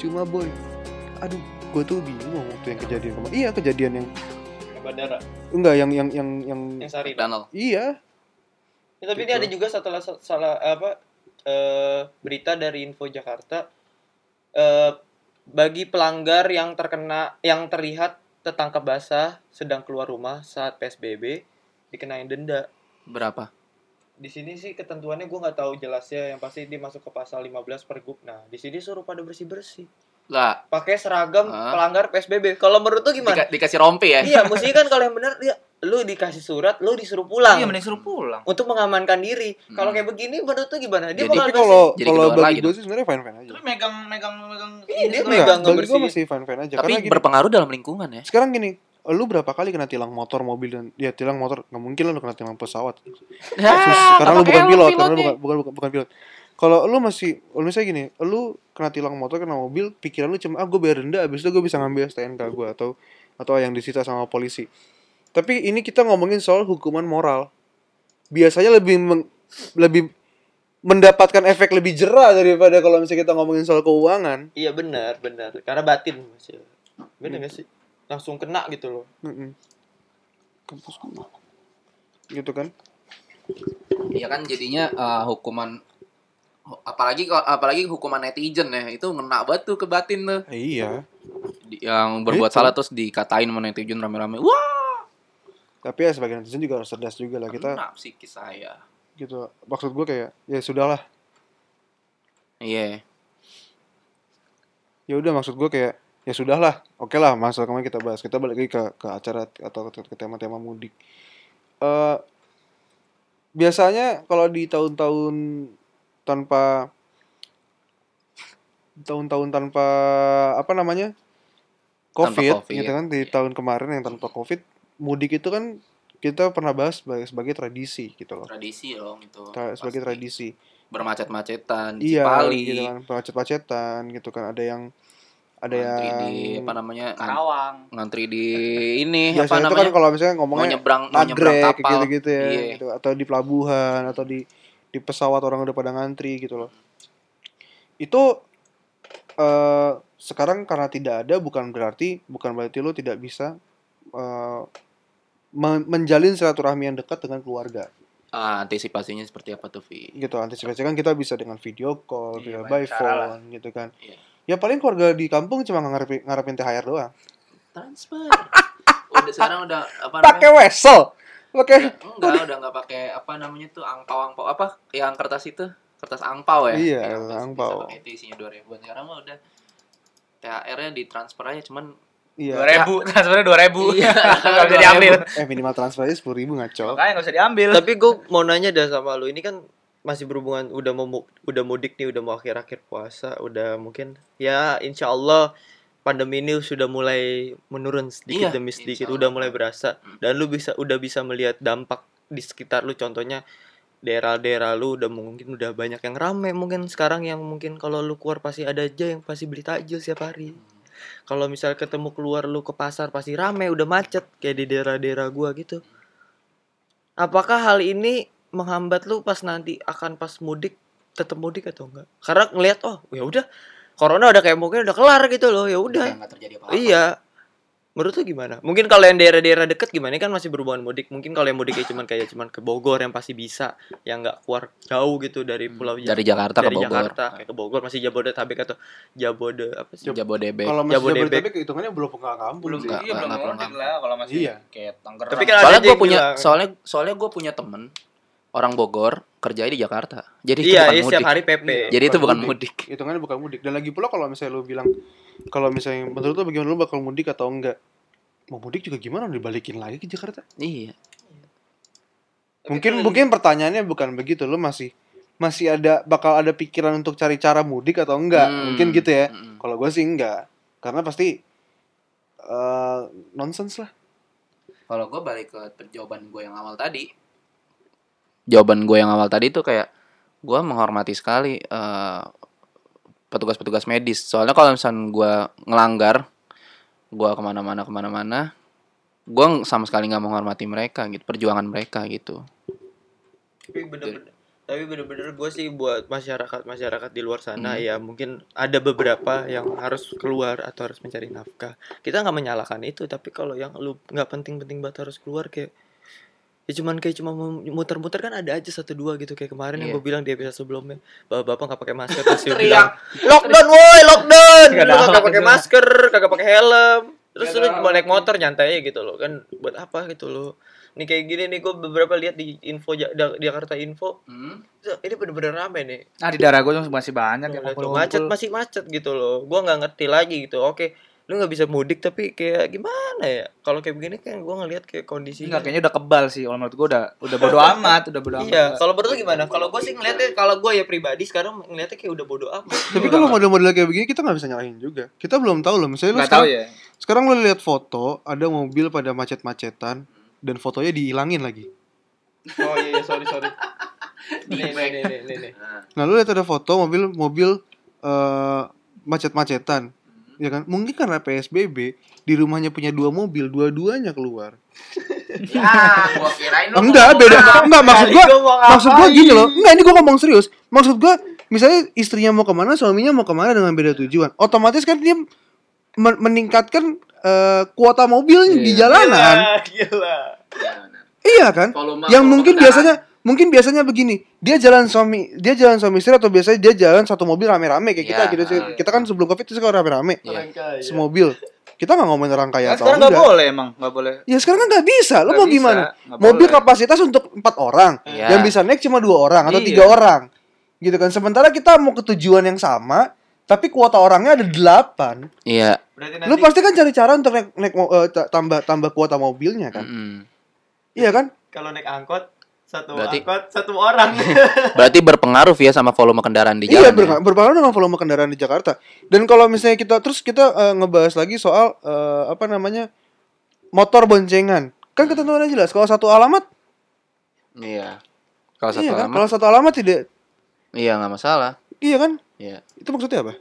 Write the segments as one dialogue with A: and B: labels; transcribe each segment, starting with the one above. A: cuma boy aduh gue tuh bingung waktu yang kejadian kemarin iya kejadian yang
B: Di bandara
A: enggak yang yang yang yang
B: yang sehari
C: Danau.
A: iya
B: Ya, tapi ini
A: Gitu.
B: ada juga salah salah apa eh, berita dari Info Jakarta eh, bagi pelanggar yang terkena yang terlihat tertangkap basah sedang keluar rumah saat PSBB dikenain denda.
C: Berapa?
B: Di sini sih ketentuannya gue nggak tahu jelasnya yang pasti dia masuk ke pasal 15 pergub. Nah, di sini suruh pada bersih-bersih.
C: Lah,
B: Pakai seragam
C: Hah?
B: pelanggar PSBB. Kalau menurut tuh gimana?
C: dika- dikasih rompi
A: Eh.
C: ya?
B: iya, mesti kan kalau yang benar ya lu dikasih surat, lu disuruh pulang.
D: Iya, mending suruh pulang.
B: untuk mengamankan diri.
C: Hmm.
B: Kalau kayak begini menurut tuh gimana? Dia
C: Jadi-
B: bakal
A: Ya, tapi kalau
C: Jadi
A: kalau
C: kedua lagi
A: bagi gue
C: dong.
A: sih sebenarnya fine fine aja
D: Tapi megang megang megang
B: Iya,
D: ini
B: dia
D: segala-
A: enggak
B: megang.
A: bagi gue
B: ngebersihin.
A: masih fine fine aja
C: Tapi
A: Ya, karena gini,
C: berpengaruh dalam lingkungan ya.
A: sekarang gini lu berapa kali kena tilang motor mobil dan ya tilang motor nggak mungkin lah lu kena tilang pesawat
C: Eh,
B: Ah.
A: Sus, karena lu bukan pilot, karena lu bukan bukan bukan, bukan pilot. Kalau lu masih, lu misalnya gini, lu kena tilang motor, kena mobil, pikiran lu cuma ah gue bayar denda, abis itu gue bisa ngambil STNK gue atau atau yang disita sama polisi. Tapi ini kita ngomongin soal hukuman moral. Biasanya lebih meng- lebih mendapatkan efek lebih jerah daripada kalau misalnya kita ngomongin soal keuangan.
B: Iya benar, benar. Karena batin masih. Benar nggak sih? Langsung kena gitu loh.
A: Mm-mm. Kampus gua. Gitu kan?
C: Iya kan jadinya eh, hukuman apalagi kalau- apalagi hukuman netizen ya itu ngena banget tuh ke batin tuh
A: Iya.
C: Di- yang berbuat
A: Itu.
C: salah terus dikatain sama netizen rame-rame wah
A: Tapi ya sebagai netizen juga harus cerdas juga lah kita
C: kena psikis saya
A: gitu. Maksud gue kayak ya sudahlah
C: iya
A: ya udah maksud gue kayak ya sudahlah oke lah masalah kemarin kita bahas kita balik lagi ke ke acara atau ke ke tema-tema mudik Eh biasanya kalau di tahun-tahun tanpa tahun-tahun tanpa apa namanya
C: Tanpa
A: covid,
C: COVID. iya.
A: gitu kan di tahun kemarin yang tanpa covid mudik itu kan kita pernah bahas sebagai, sebagai tradisi gitu loh
C: tradisi dong itu
A: Tra- sebagai
C: Pasti.
A: tradisi
C: bermacet-macetan di
A: iya
C: Cipali
A: gitu kan macet-macetan gitu kan ada yang ada
C: ngantri
A: yang
C: di apa namanya ngan-
D: Karawang.
C: ngantri di ini apa
A: biasanya itu kan
C: namanya
A: kalau misalnya
C: mau
A: ngomongnya
C: nyebrang mau nyebrang
A: nagrek
C: kapal
A: gitu-gitu ya
C: Iya.
A: gitu. atau di pelabuhan atau di di pesawat orang udah pada ngantri gitu loh itu eh sekarang karena tidak ada bukan berarti bukan berarti lo tidak bisa eh, men- menjalin silaturahmi yang dekat dengan keluarga
C: Ah, antisipasinya seperti apa tuh Vi
A: gitu antisipasi kan kita bisa dengan video call, bisa
D: Iya,
A: by
D: banyak cara lah.
A: phone gitu kan.
C: Iya.
A: Ya paling keluarga di kampung cuma ngarepin, ngarepin THR doang.
C: transfer udah sekarang udah apa namanya
A: Pakai wesel.
C: Iya.
A: Pakai
C: Enggak, udah nggak pakai apa namanya tuh angpau angpau apa? Yang kertas itu, kertas angpau ya.
A: Iya,
C: Yang terus
A: angpau.
C: Bisa pakai itu isinya 2000 Sekarang mah udah THR-nya ditransfer aja cuman
D: Dua
A: iya.
D: ribu, transfernya dua ribu.
C: Iya,
D: Gak
C: 2000.
D: bisa diambil.
A: Eh minimal transfer aja 10 ribu ngaco.
D: Makanya gak bisa diambil.
B: Tapi gue mau nanya dah sama lu. Ini kan masih berhubungan udah mau mu- udah mudik nih, udah mau akhir-akhir puasa, udah mungkin ya insya Allah pandemi ini sudah mulai menurun sedikit
C: Iya,
B: demi sedikit,
C: insya
B: udah
C: Allah.
B: mulai berasa.
C: Hmm.
B: Dan lu bisa udah bisa melihat dampak di sekitar lu. Contohnya daerah-daerah lu udah mungkin udah banyak yang rame mungkin sekarang yang mungkin kalau lu keluar pasti ada aja yang pasti beli takjil setiap hari. kalau misal ketemu keluar lu ke pasar pasti rame udah macet kayak di daerah-daerah gua gitu apakah hal ini menghambat lu pas nanti akan pas mudik tetap mudik atau enggak karena ngelihat oh ya udah corona udah kayak mungkin udah kelar gitu loh ya udah
C: nggak terjadi apa-apa.
B: iya menurut lu gimana mungkin kalau yang daerah-daerah deket gimana Ini kan masih berhubungan mudik mungkin kalau yang mudiknya cuman kayak cuman ke Bogor yang pasti bisa yang nggak keluar jauh gitu dari pulau
C: Hmm, Dari Jakarta
B: dari
C: ke Bogor.
B: Jakarta kayak ke Bogor masih Jabodetabek atau Jabode apa sih
C: Jabodebek.
A: Kalau masih
B: Jabodetabek.
A: Jabodetabek hitungannya belum pulang kampung
D: belum
A: sih.
C: enggak,
D: iya belum
C: enggak, belum
D: mudik lah kalau masih
A: Iya.
D: kayak Tangerang.
B: Tapi kan ada
C: soalnya
B: aja
C: gue
B: yang
C: punya
B: bilang.
C: soalnya soalnya gue punya temen orang Bogor kerja di Jakarta. Jadi itu
B: iya,
C: bukan
B: iya
C: mudik.
B: setiap hari PP.
A: Iya.
C: Jadi itu bukan
A: Bukan
C: mudik.
A: Hitungannya bukan mudik. Dan lagi pula kalau misalnya lu bilang kalau misalnya menurut lu bagaimana lu bakal mudik atau enggak? Mau mudik juga gimana dibalikin lagi ke Jakarta?
C: Iya.
A: Mungkin mungkin pertanyaannya bukan begitu. Lu masih masih ada bakal ada pikiran untuk cari cara mudik atau enggak?
C: Hmm.
A: Mungkin gitu ya.
C: Mm-mm.
A: Kalau gue sih enggak, karena pasti eh nonsense lah.
C: kalau gue balik ke per- jawaban gue yang awal tadi jawaban gue yang awal tadi itu kayak gue menghormati sekali eh, petugas-petugas medis soalnya kalau misalnya gue ngelanggar gue kemana-mana kemana-mana gue sama sekali nggak menghormati mereka gitu perjuangan mereka gitu
B: Tapi bener-bener tapi bener-bener gue sih buat masyarakat masyarakat di luar sana
C: Hmm.
B: ya mungkin ada beberapa yang harus keluar atau harus mencari nafkah kita nggak menyalahkan itu tapi kalau yang lu nggak penting-penting banget harus keluar kayak ya cuman kayak cuma mau muter-muter kan ada aja satu dua gitu kayak kemarin yang
C: Iya.
B: gue bilang di episode sebelumnya bapak-bapak nggak pakai masker terus dia bilang
D: Teriak.
B: lockdown woi lockdown
D: Nggak
B: lu kagak
D: ada
B: pakai
D: apa-apa.
B: masker kagak pakai helm terus
D: Nggak
B: lu
D: ada
B: cuma naik
D: apa-apa.
B: motor nyantai aja gitu loh kan buat apa gitu loh nih kayak gini nih gue beberapa lihat di info Ja- Da- Jakarta Info
D: Hmm.
B: ini bener-bener rame nih
D: Nah, di daerah gue masih banyak yang
B: Udah tuh,
D: ngumpul-ngumpul.
B: Iya, macet masih macet gitu loh gue nggak ngerti lagi gitu oke lu nggak bisa mudik tapi kayak gimana ya kalau kayak begini kan gue ngelihat kayak kondisinya
D: Enggak, kayaknya udah kebal sih. Kalau menurut gue udah udah bodo amat, udah bodo amat.
B: Iya, kalau menurut lu gimana? Kalau gue sih ngeliatnya, kalau gue ya pribadi sekarang ngeliatnya kayak udah bodo amat.
A: Tapi kalau model-model kayak begini kita nggak bisa nyalahin juga. Kita belum tahu loh. Misalnya lu
D: Enggak tahu
A: sekarang,
D: ya.
A: sekarang lu lihat foto ada mobil pada macet-macetan dan fotonya dihilangin lagi.
B: Oh iya, iya, sorry sorry. nih, nih, nih, nih, nih, nih.
A: Nah lu lihat ada foto mobil mobil eh, macet-macetan, ya kan? Mungkin karena PSBB di rumahnya punya dua mobil, dua-duanya keluar. Oh,
D: Ah, gua kirain
A: enggak beda enggak maksud gua
B: Tadi gua mau
A: maksud gua
B: ngapain?
A: gini loh enggak ini gua ngomong serius maksud gua misalnya istrinya mau kemana suaminya mau kemana dengan beda tujuan otomatis kan dia men- meningkatkan eh, kuota mobilnya di jalanan
B: Ah, gila.
A: iya kan yang mungkin biasanya mungkin biasanya begini dia jalan suami dia jalan suami istri atau biasanya dia jalan satu mobil rame-rame kayak kita
C: Iya.
A: gitu sih. kita kan sebelum covid itu suka rame-rame
C: Iya.
A: semobil kita nggak ngomongin orang kaya
D: Kan
A: atau
D: sekarang enggak
A: enggak
D: boleh emang, enggak boleh.
A: ya sekarang kan nggak bisa lo
D: Nggak
A: mau
D: bisa,
A: gimana
D: nggak
A: mobil
D: boleh.
A: kapasitas untuk empat orang
C: Iya.
A: yang bisa naik cuma dua orang atau
D: Iya.
A: tiga orang gitu kan sementara kita mau ke tujuan yang sama tapi kuota orangnya ada delapan
C: Iya.
B: Berarti
A: lu pasti kan cari cara untuk naik, naik mo- eh, ta- tambah tambah kuota mobilnya
D: Hmm.
A: kan
C: Mm-mm.
A: iya kan
B: kalau naik angkot satu
C: Berarti-
B: angkot satu orang.
C: Berarti berpengaruh ya sama volume kendaraan di jalan.
A: iya
C: ya?
A: berpa- berpengaruh dengan volume kendaraan di Jakarta dan kalau misalnya kita terus kita eh, ngebahas lagi soal eh, apa namanya motor boncengan kan
C: Hmm.
A: ketentuannya jelas kalau satu alamat
C: Iya. Kalau satu
A: iya kan
C: alamat,
A: kalau satu alamat tidak
C: iya nggak masalah.
A: iya kan
C: Iya.
A: itu maksudnya apa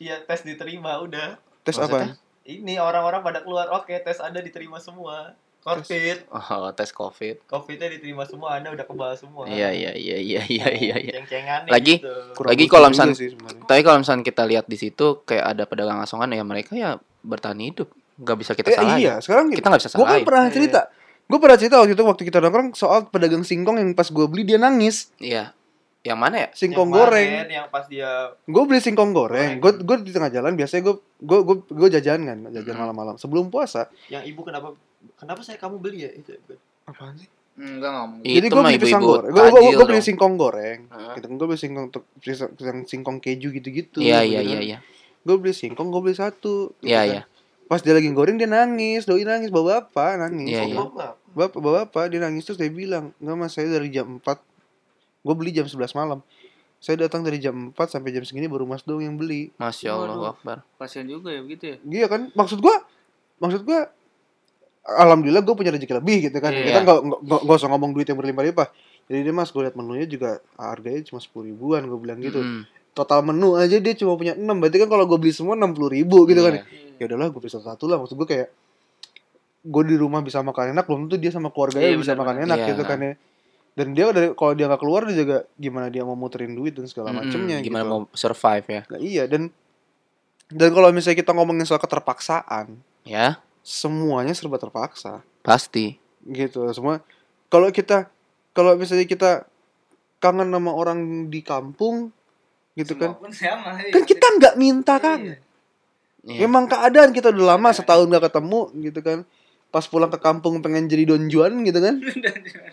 B: Iya, tes diterima udah.
A: tes apa
C: Maksudnya?
A: ya?
B: Ini orang-orang pada keluar. Oke, tes Anda diterima semua. Covid,
C: Oh, tes covid.
B: Covidnya diterima semua, Anda udah kebal semua.
C: Iya iya iya iya iya iya. iya.
B: Ceng-cengan
C: Lagi?
B: gitu.
A: Kurang
C: Lagi
A: lucu
C: kalau
A: juga
C: misal-
A: sih sebenarnya.
C: Tapi kalau misalnya kita lihat di situ kayak ada pedagang asongan ya mereka ya bertahan hidup. Gak bisa kita
A: Eh,
C: salahin.
A: iya, sekarang
C: Kita nggak ya? bisa
A: Gue kan
C: salahin.
A: pernah
B: Iya.
A: cerita. Gue pernah cerita waktu itu waktu kita nongkrong soal pedagang singkong yang pas gue beli dia nangis.
C: Iya. Yang mana ya?
A: Singkong
B: Yang
A: goreng.
B: kemarin, Yang pas dia
A: Gue beli singkong goreng. Gue gue
B: Goreng.
A: di tengah jalan biasanya gue gue gue gue jajan kan, jajan
C: Mm.
A: malam-malam sebelum puasa.
B: yang ibu kenapa kenapa saya kamu beli ya itu
A: Apaan sih?
D: Enggak ngomong.
A: Jadi
C: Itu
A: gue
C: mah
A: beli pisang
C: ibu-ibu
A: goreng. Gue gue
C: tajil
A: gue beli
C: dong.
A: singkong goreng.
C: Heeh.
A: Gitu. Gue beli singkong untuk pisang pisang- singkong keju gitu-gitu.
C: Iya iya iya iya.
A: Gue beli singkong, gue beli satu. gitu
C: Iya
A: kan.
C: iya.
A: Pas dia lagi goreng dia nangis, doi nangis, bawa bapak nangis. Gua
C: Iya, iya.
B: Bapak.
A: Bapak, bapak dia nangis terus dia bilang, "Enggak Mas, saya dari jam 4. Gue beli jam 11 malam. Saya datang dari jam 4 sampai jam segini baru Mas doang yang beli."
C: Masya
D: Waduh.
C: Allah Akbar.
D: Kasihan juga ya begitu ya.
A: Iya kan? Maksud gua maksud gua alhamdulillah gue punya rezeki lebih gitu kan.
C: Iya.
A: Kita nggak nggak- nggak nggak usah ngomong duit yang berlimpah-limpah. Jadi dia Mas, gue liat menunya juga harganya cuma 10 ribuan gue bilang gitu.
C: Mm-mm.
A: Total menu aja dia cuma punya 6. Berarti kan kalau gue beli semua 60 ribu gitu kan.
C: Iya.
A: Ya udahlah, gue beli satu-satu lah. Maksud gue kayak gue di rumah bisa makan enak belum tentu dia sama keluarganya
D: Iya,
A: bisa
D: benar-benar.
A: makan enak
C: Iya.
A: gitu kan ya dan dia dari kalau dia nggak keluar dia juga gimana dia mau muterin duit dan segala
C: Mm-mm.
A: macemnya
C: hmm, Gimana
A: gitu
C: mau survive ya?
A: Nah, iya dan dan kalau misalnya kita ngomongin soal keterpaksaan
C: Ya
A: semuanya serba terpaksa
C: pasti.
A: gitu semua kalau kita kalau misalnya kita kangen sama orang di kampung gitu kan
D: Semua pun sama. iya.
A: kan kita nggak minta kangen
C: Iya.
A: Memang keadaan kita udah lama
D: Iya.
A: setahun gak ketemu gitu kan. Pas pulang ke kampung pengen jadi Don Juan gitu kan.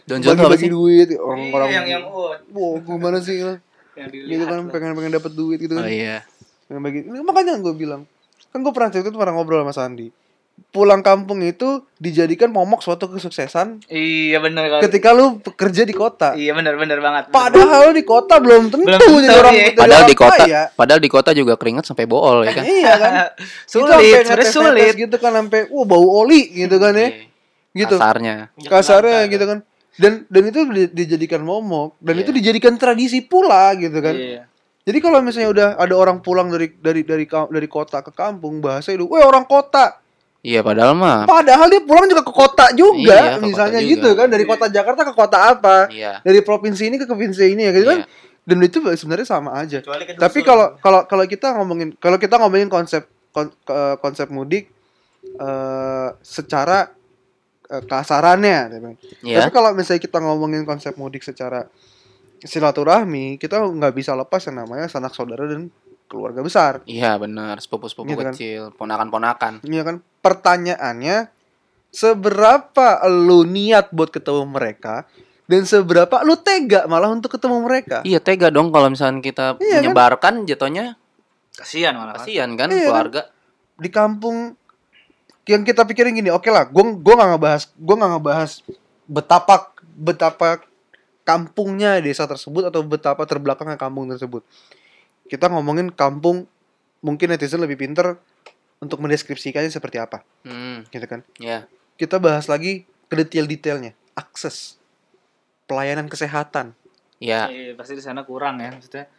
C: Don John tuh apa
A: Bagi-bagi
C: sih?
A: duit
D: Iya,
A: orang-orang.
D: yang yang ut,
A: Wow, gimana sih lo?
D: yang
A: Gitu
D: dilihat.
A: kan
D: lah.
A: pengen pengen dapat duit gitu kan.
C: Oh iya.
A: Pengen bagi. Makanya gue bilang, kan gue pernah cerita tuh pernah ngobrol sama Sandi. Pulang kampung itu dijadikan momok suatu kesuksesan
D: Iya benar kalau.
A: ketika lu kerja di kota.
D: Iya benar benar banget.
A: Padahal di kota belum tentu
D: Belum tentu,
A: jadi orang ya.
D: iya.
A: jadi
C: Padahal
A: orang
C: di kota,
A: kaya.
C: padahal di kota juga keringat sampai bool ya kan?
A: Iya kan. Itu sampai
D: sulit, sebenarnya
A: ngetes-netes
D: sulit. Iya.
A: gitu kan sampai wah bau oli gitu kan ya. Gitu.
C: Kasarnya.
A: kasarnya gitu kan dan dan itu di- dijadikan momok dan itu dijadikan tradisi pula gitu kan
D: Iya.
A: jadi kalau misalnya udah ada orang pulang dari dari dari ka- dari kota ke kampung bahasa itu weh orang kota
C: Iya padahal mah
A: Padahal dia pulang juga ke kota
C: Iya,
A: juga,
C: ke kota
A: misalnya
C: juga.
A: gitu kan
D: Iya.
A: dari kota Jakarta ke kota apa,
C: iya.
A: dari provinsi ini ke provinsi ini ya gitu kan.
C: Iya.
A: Dan itu sebenarnya sama aja.
B: Kecuali ke
A: Tapi
B: dusun.
A: kalau kalau kalau kita ngomongin kalau kita ngomongin konsep kon- ke- konsep mudik eh secara eh, kasarannya, ya Bang.
C: Iya.
A: tapi kalau misalnya kita ngomongin konsep mudik secara silaturahmi, kita nggak bisa lepas yang namanya sanak saudara dan keluarga besar.
C: Iya benar, sepupu-sepupu
A: Gitu kan.
C: kecil, ponakan-ponakan.
A: Iya kan? Pertanyaannya seberapa lu niat buat ketemu mereka dan seberapa lu tega malah untuk ketemu mereka?
C: Iya tega dong kalau misalkan kita
A: Iya kan?
C: menyebarkan jatuhnya
D: Kasihan malah. kan.
C: kasihan kan
A: Iya kan?
C: keluarga.
A: Di kampung yang kita pikirin gini, oke lah, gua gua nggak ngebahas, gua nggak ngebahas betapa betapa kampungnya desa tersebut atau betapa terbelakangnya kampung tersebut. Kita ngomongin kampung mungkin netizen lebih pinter untuk mendeskripsikannya seperti apa,
C: Hmm,
A: gitu kan?
C: Iya.
A: Kita bahas lagi ke detail-detailnya, akses, pelayanan kesehatan,
C: Iya.
D: Iya, pasti di sana kurang ya maksudnya.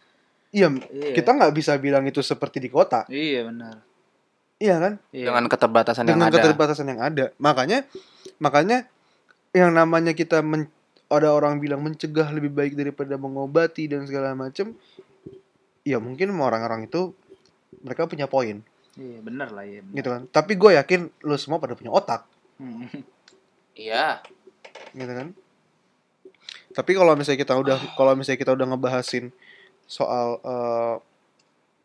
A: Iya,
D: Iya.
A: kita nggak bisa bilang itu seperti di kota,
D: Iya benar.
A: iya kan?
D: Iya.
C: Dengan keterbatasan
A: Dengan
C: yang ada.
A: keterbatasan yang ada. Makanya, makanya yang namanya kita men- ada orang bilang mencegah lebih baik daripada mengobati dan segala macem. Ya mungkin orang-orang itu mereka punya poin,
D: Iya benar lah iya. benar.
A: gitu kan? Tapi gue yakin lo semua pada punya otak,
D: Hmm.
C: Iya.
A: gitu kan? Tapi kalau misalnya kita udah, kalau misalnya kita udah ngebahasin soal eh,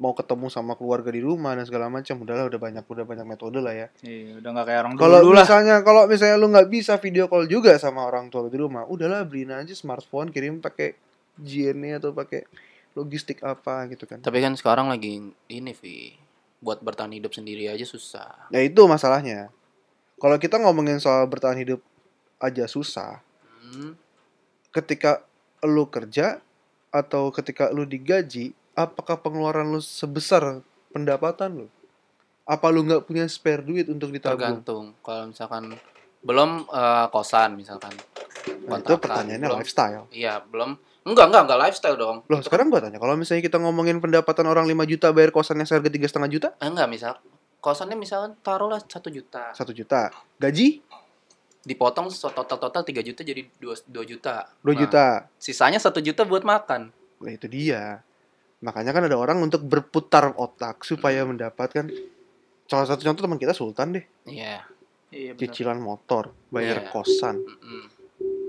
A: mau ketemu sama keluarga di rumah dan segala macam, udahlah udah banyak, udah banyak metode lah ya.
D: Iya, udah gak kayak orang dulu,
A: Kalau
D: lah.
A: misalnya kalau misalnya lu nggak bisa video call juga sama orang tua lu di rumah, udahlah beliin aja smartphone, kirim pakai JNE atau pakai logistik apa gitu kan.
C: Tapi kan sekarang lagi ini Vi buat bertahan hidup sendiri aja susah.
A: Nah itu masalahnya. Kalau kita ngomongin soal bertahan hidup aja susah,
C: Hmm.
A: ketika lu kerja atau ketika lu digaji, apakah pengeluaran lu sebesar pendapatan lu? Apa lu nggak punya spare duit untuk ditabung?
C: Tergantung. Kalau misalkan belum eh, kosan misalkan.
A: Nah, itu
C: kontrakan,
A: pertanyaannya
C: belum-
A: lifestyle.
C: Iya, belum. Enggak, enggak, enggak lifestyle dong.
A: Loh, sekarang gua tanya, kalau misalnya kita ngomongin pendapatan orang 5 juta bayar kosannya seharga tiga setengah juta,
C: Eh, enggak, misal kosannya misalkan taruhlah satu juta.
A: satu juta. Gaji
C: Dipotong so- total-total 3 juta jadi 2, juta.
A: 2
C: Nah,
A: juta.
C: Sisanya satu juta buat makan.
A: Nah, itu dia. Makanya kan ada orang untuk berputar otak supaya mendapatkan salah satu contoh teman kita Sultan deh,
C: Iya.
D: Iya benar.
A: cicilan motor, bayar
C: Iya.
A: kosan,
C: Mm-mm.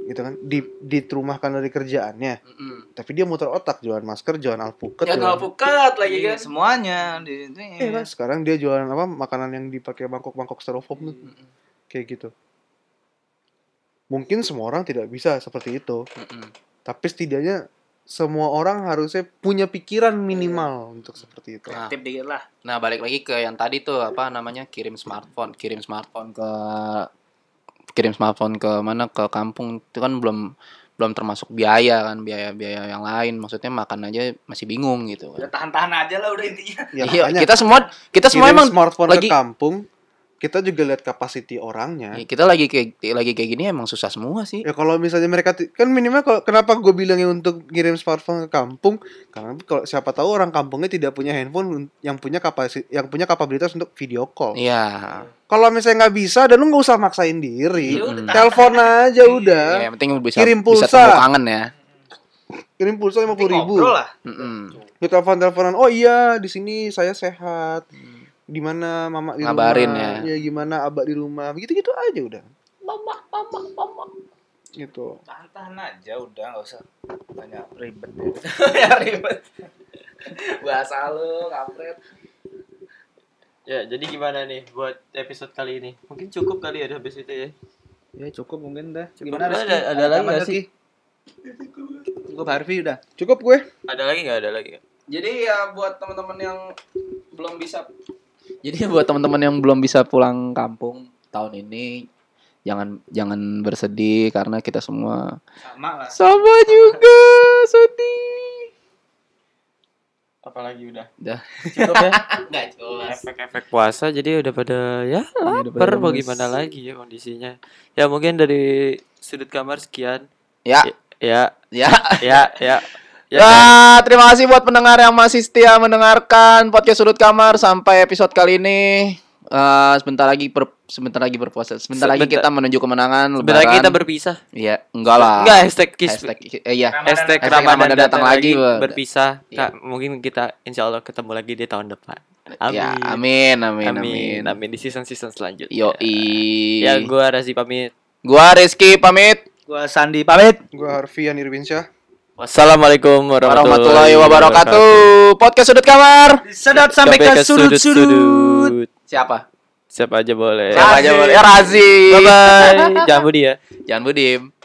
A: gitu kan, di diterumahkan dari kerjaannya.
C: Mm-mm.
A: Tapi dia muter otak jualan masker, jualan alpukat.
C: Ya
A: jualan-
C: alpukat lagi
D: Iya,
C: kan.
D: semuanya di itu.
A: Iya kan, sekarang dia jualan apa? Makanan yang dipakai mangkok-mangkok styrofoam tuh,
C: Mm-mm.
A: kayak gitu. Mungkin semua orang tidak bisa seperti itu.
C: Mm-mm.
A: tapi setidaknya semua orang harusnya punya pikiran
C: Iya.
A: minimal untuk seperti itu.
C: Nah,
D: Tip dikit lah.
C: nah, balik lagi ke yang tadi tuh apa namanya kirim smartphone, kirim smartphone ke kirim smartphone ke mana ke kampung itu kan belum belum termasuk biaya kan biaya-biaya yang lain maksudnya makan aja masih bingung gitu
D: Udah
C: kan.
D: tahan-tahan aja lah udah intinya.
A: Ya,
C: iya,
A: makanya
C: kita semua kita
A: kirim
C: semua emang
A: smartphone
C: lagi- Iya.
A: ke kampung, kita juga lihat kapasiti orangnya.
C: Ya, kita lagi kayak lagi kayak gini emang susah semua sih.
A: Ya kalau misalnya mereka ti- kan minimal kalau kenapa gue bilangnya untuk ngirim smartphone ke kampung karena kalau siapa tahu orang kampungnya tidak punya handphone yang punya kapasitas yang punya kapabilitas untuk video call.
C: Iya.
A: Kalau misalnya nggak bisa dan lu nggak usah maksain diri,
D: Iya,
C: Mm-mm.
D: udah.
A: telepon aja udah,
C: Ya, yang penting bisa
A: Kirim pulsa.
C: bisa temu kangen ya.
A: kirim pulsa lima puluh ribu.
D: Ngobrol lah.
C: Mm-mm.
A: Lu telepon-teleponan, oh iya di sini saya sehat. Di mana mama di
C: Ngabarin
A: rumah? Iya, gimana abak di rumah? Gitu-gitu aja udah.
D: Mama, mama, mama.
A: Gitu.
D: Tahan-tahan aja udah nggak usah banyak ribet. ya ribet. Bahasa lu kampret.
B: Ya, jadi gimana nih buat episode kali ini? Mungkin cukup kali ya udah habis itu ya.
D: Ya cukup mungkin dah.
B: Gimana, Rizky? Ada tambahan, Rizky?
D: Gue Harvey udah.
A: Cukup gue.
B: Ada lagi nggak? Ada lagi nggak?
D: Jadi ya buat teman-teman yang belum bisa
C: Jadi buat teman-teman yang belum bisa pulang kampung tahun ini jangan jangan bersedih karena kita semua
D: sama lah.
C: sama juga sedih.
B: Apalagi udah.
C: Dah.
B: Cukup ya.
D: Enggak jelas.
B: Efek-efek puasa jadi udah pada ya
C: udah
B: lapar
C: pada
B: mau
C: lemes.
B: gimana lagi ya kondisinya. Ya mungkin dari sudut kamar sekian.
C: Ya,
B: Ya,
C: ya.
B: ya, ya.
C: Ya, terima kasih buat pendengar yang masih setia mendengarkan podcast sudut kamar sampai episode kali ini. eh, sebentar lagi per, sebentar lagi berpuasa. Sebentar lagi
B: Sebentar-
C: kita menuju kemenangan
B: Sebentar
C: lebaran.
B: lagi kita berpisah.
C: Iya, enggak lah.
B: Enggak hashtag kiss.
C: Hashtag, eh, iya.
B: Hashtag
C: Hashtag Ramadan
B: Ramadan datang
C: datang
B: lagi
C: lagi, Bud.
B: berpisah.
C: Iya.
B: Kak, mungkin kita insya Allah ketemu lagi di tahun depan. Amin.
C: Ya, amin, amin,
B: Amin.
C: amin.
B: Amin. Di season-season selanjutnya.
C: Yoi.
B: Ya, gua Razi pamit.
C: Gua Rizky pamit.
D: Gua Sandi pamit.
A: Gue Harfian Irwinsyah.
B: Wassalamualaikum warahmatullahi,
C: Warahmatullahi wabarakatuh. Podcast sudut kamar.
D: Sedot sampai ke sudut-sudut.
C: Siapa?
B: Siapa aja boleh.
C: Siapa aja boleh. Ya, Razi.
B: Bye bye. Jangan budi ya.
C: Jangan budim.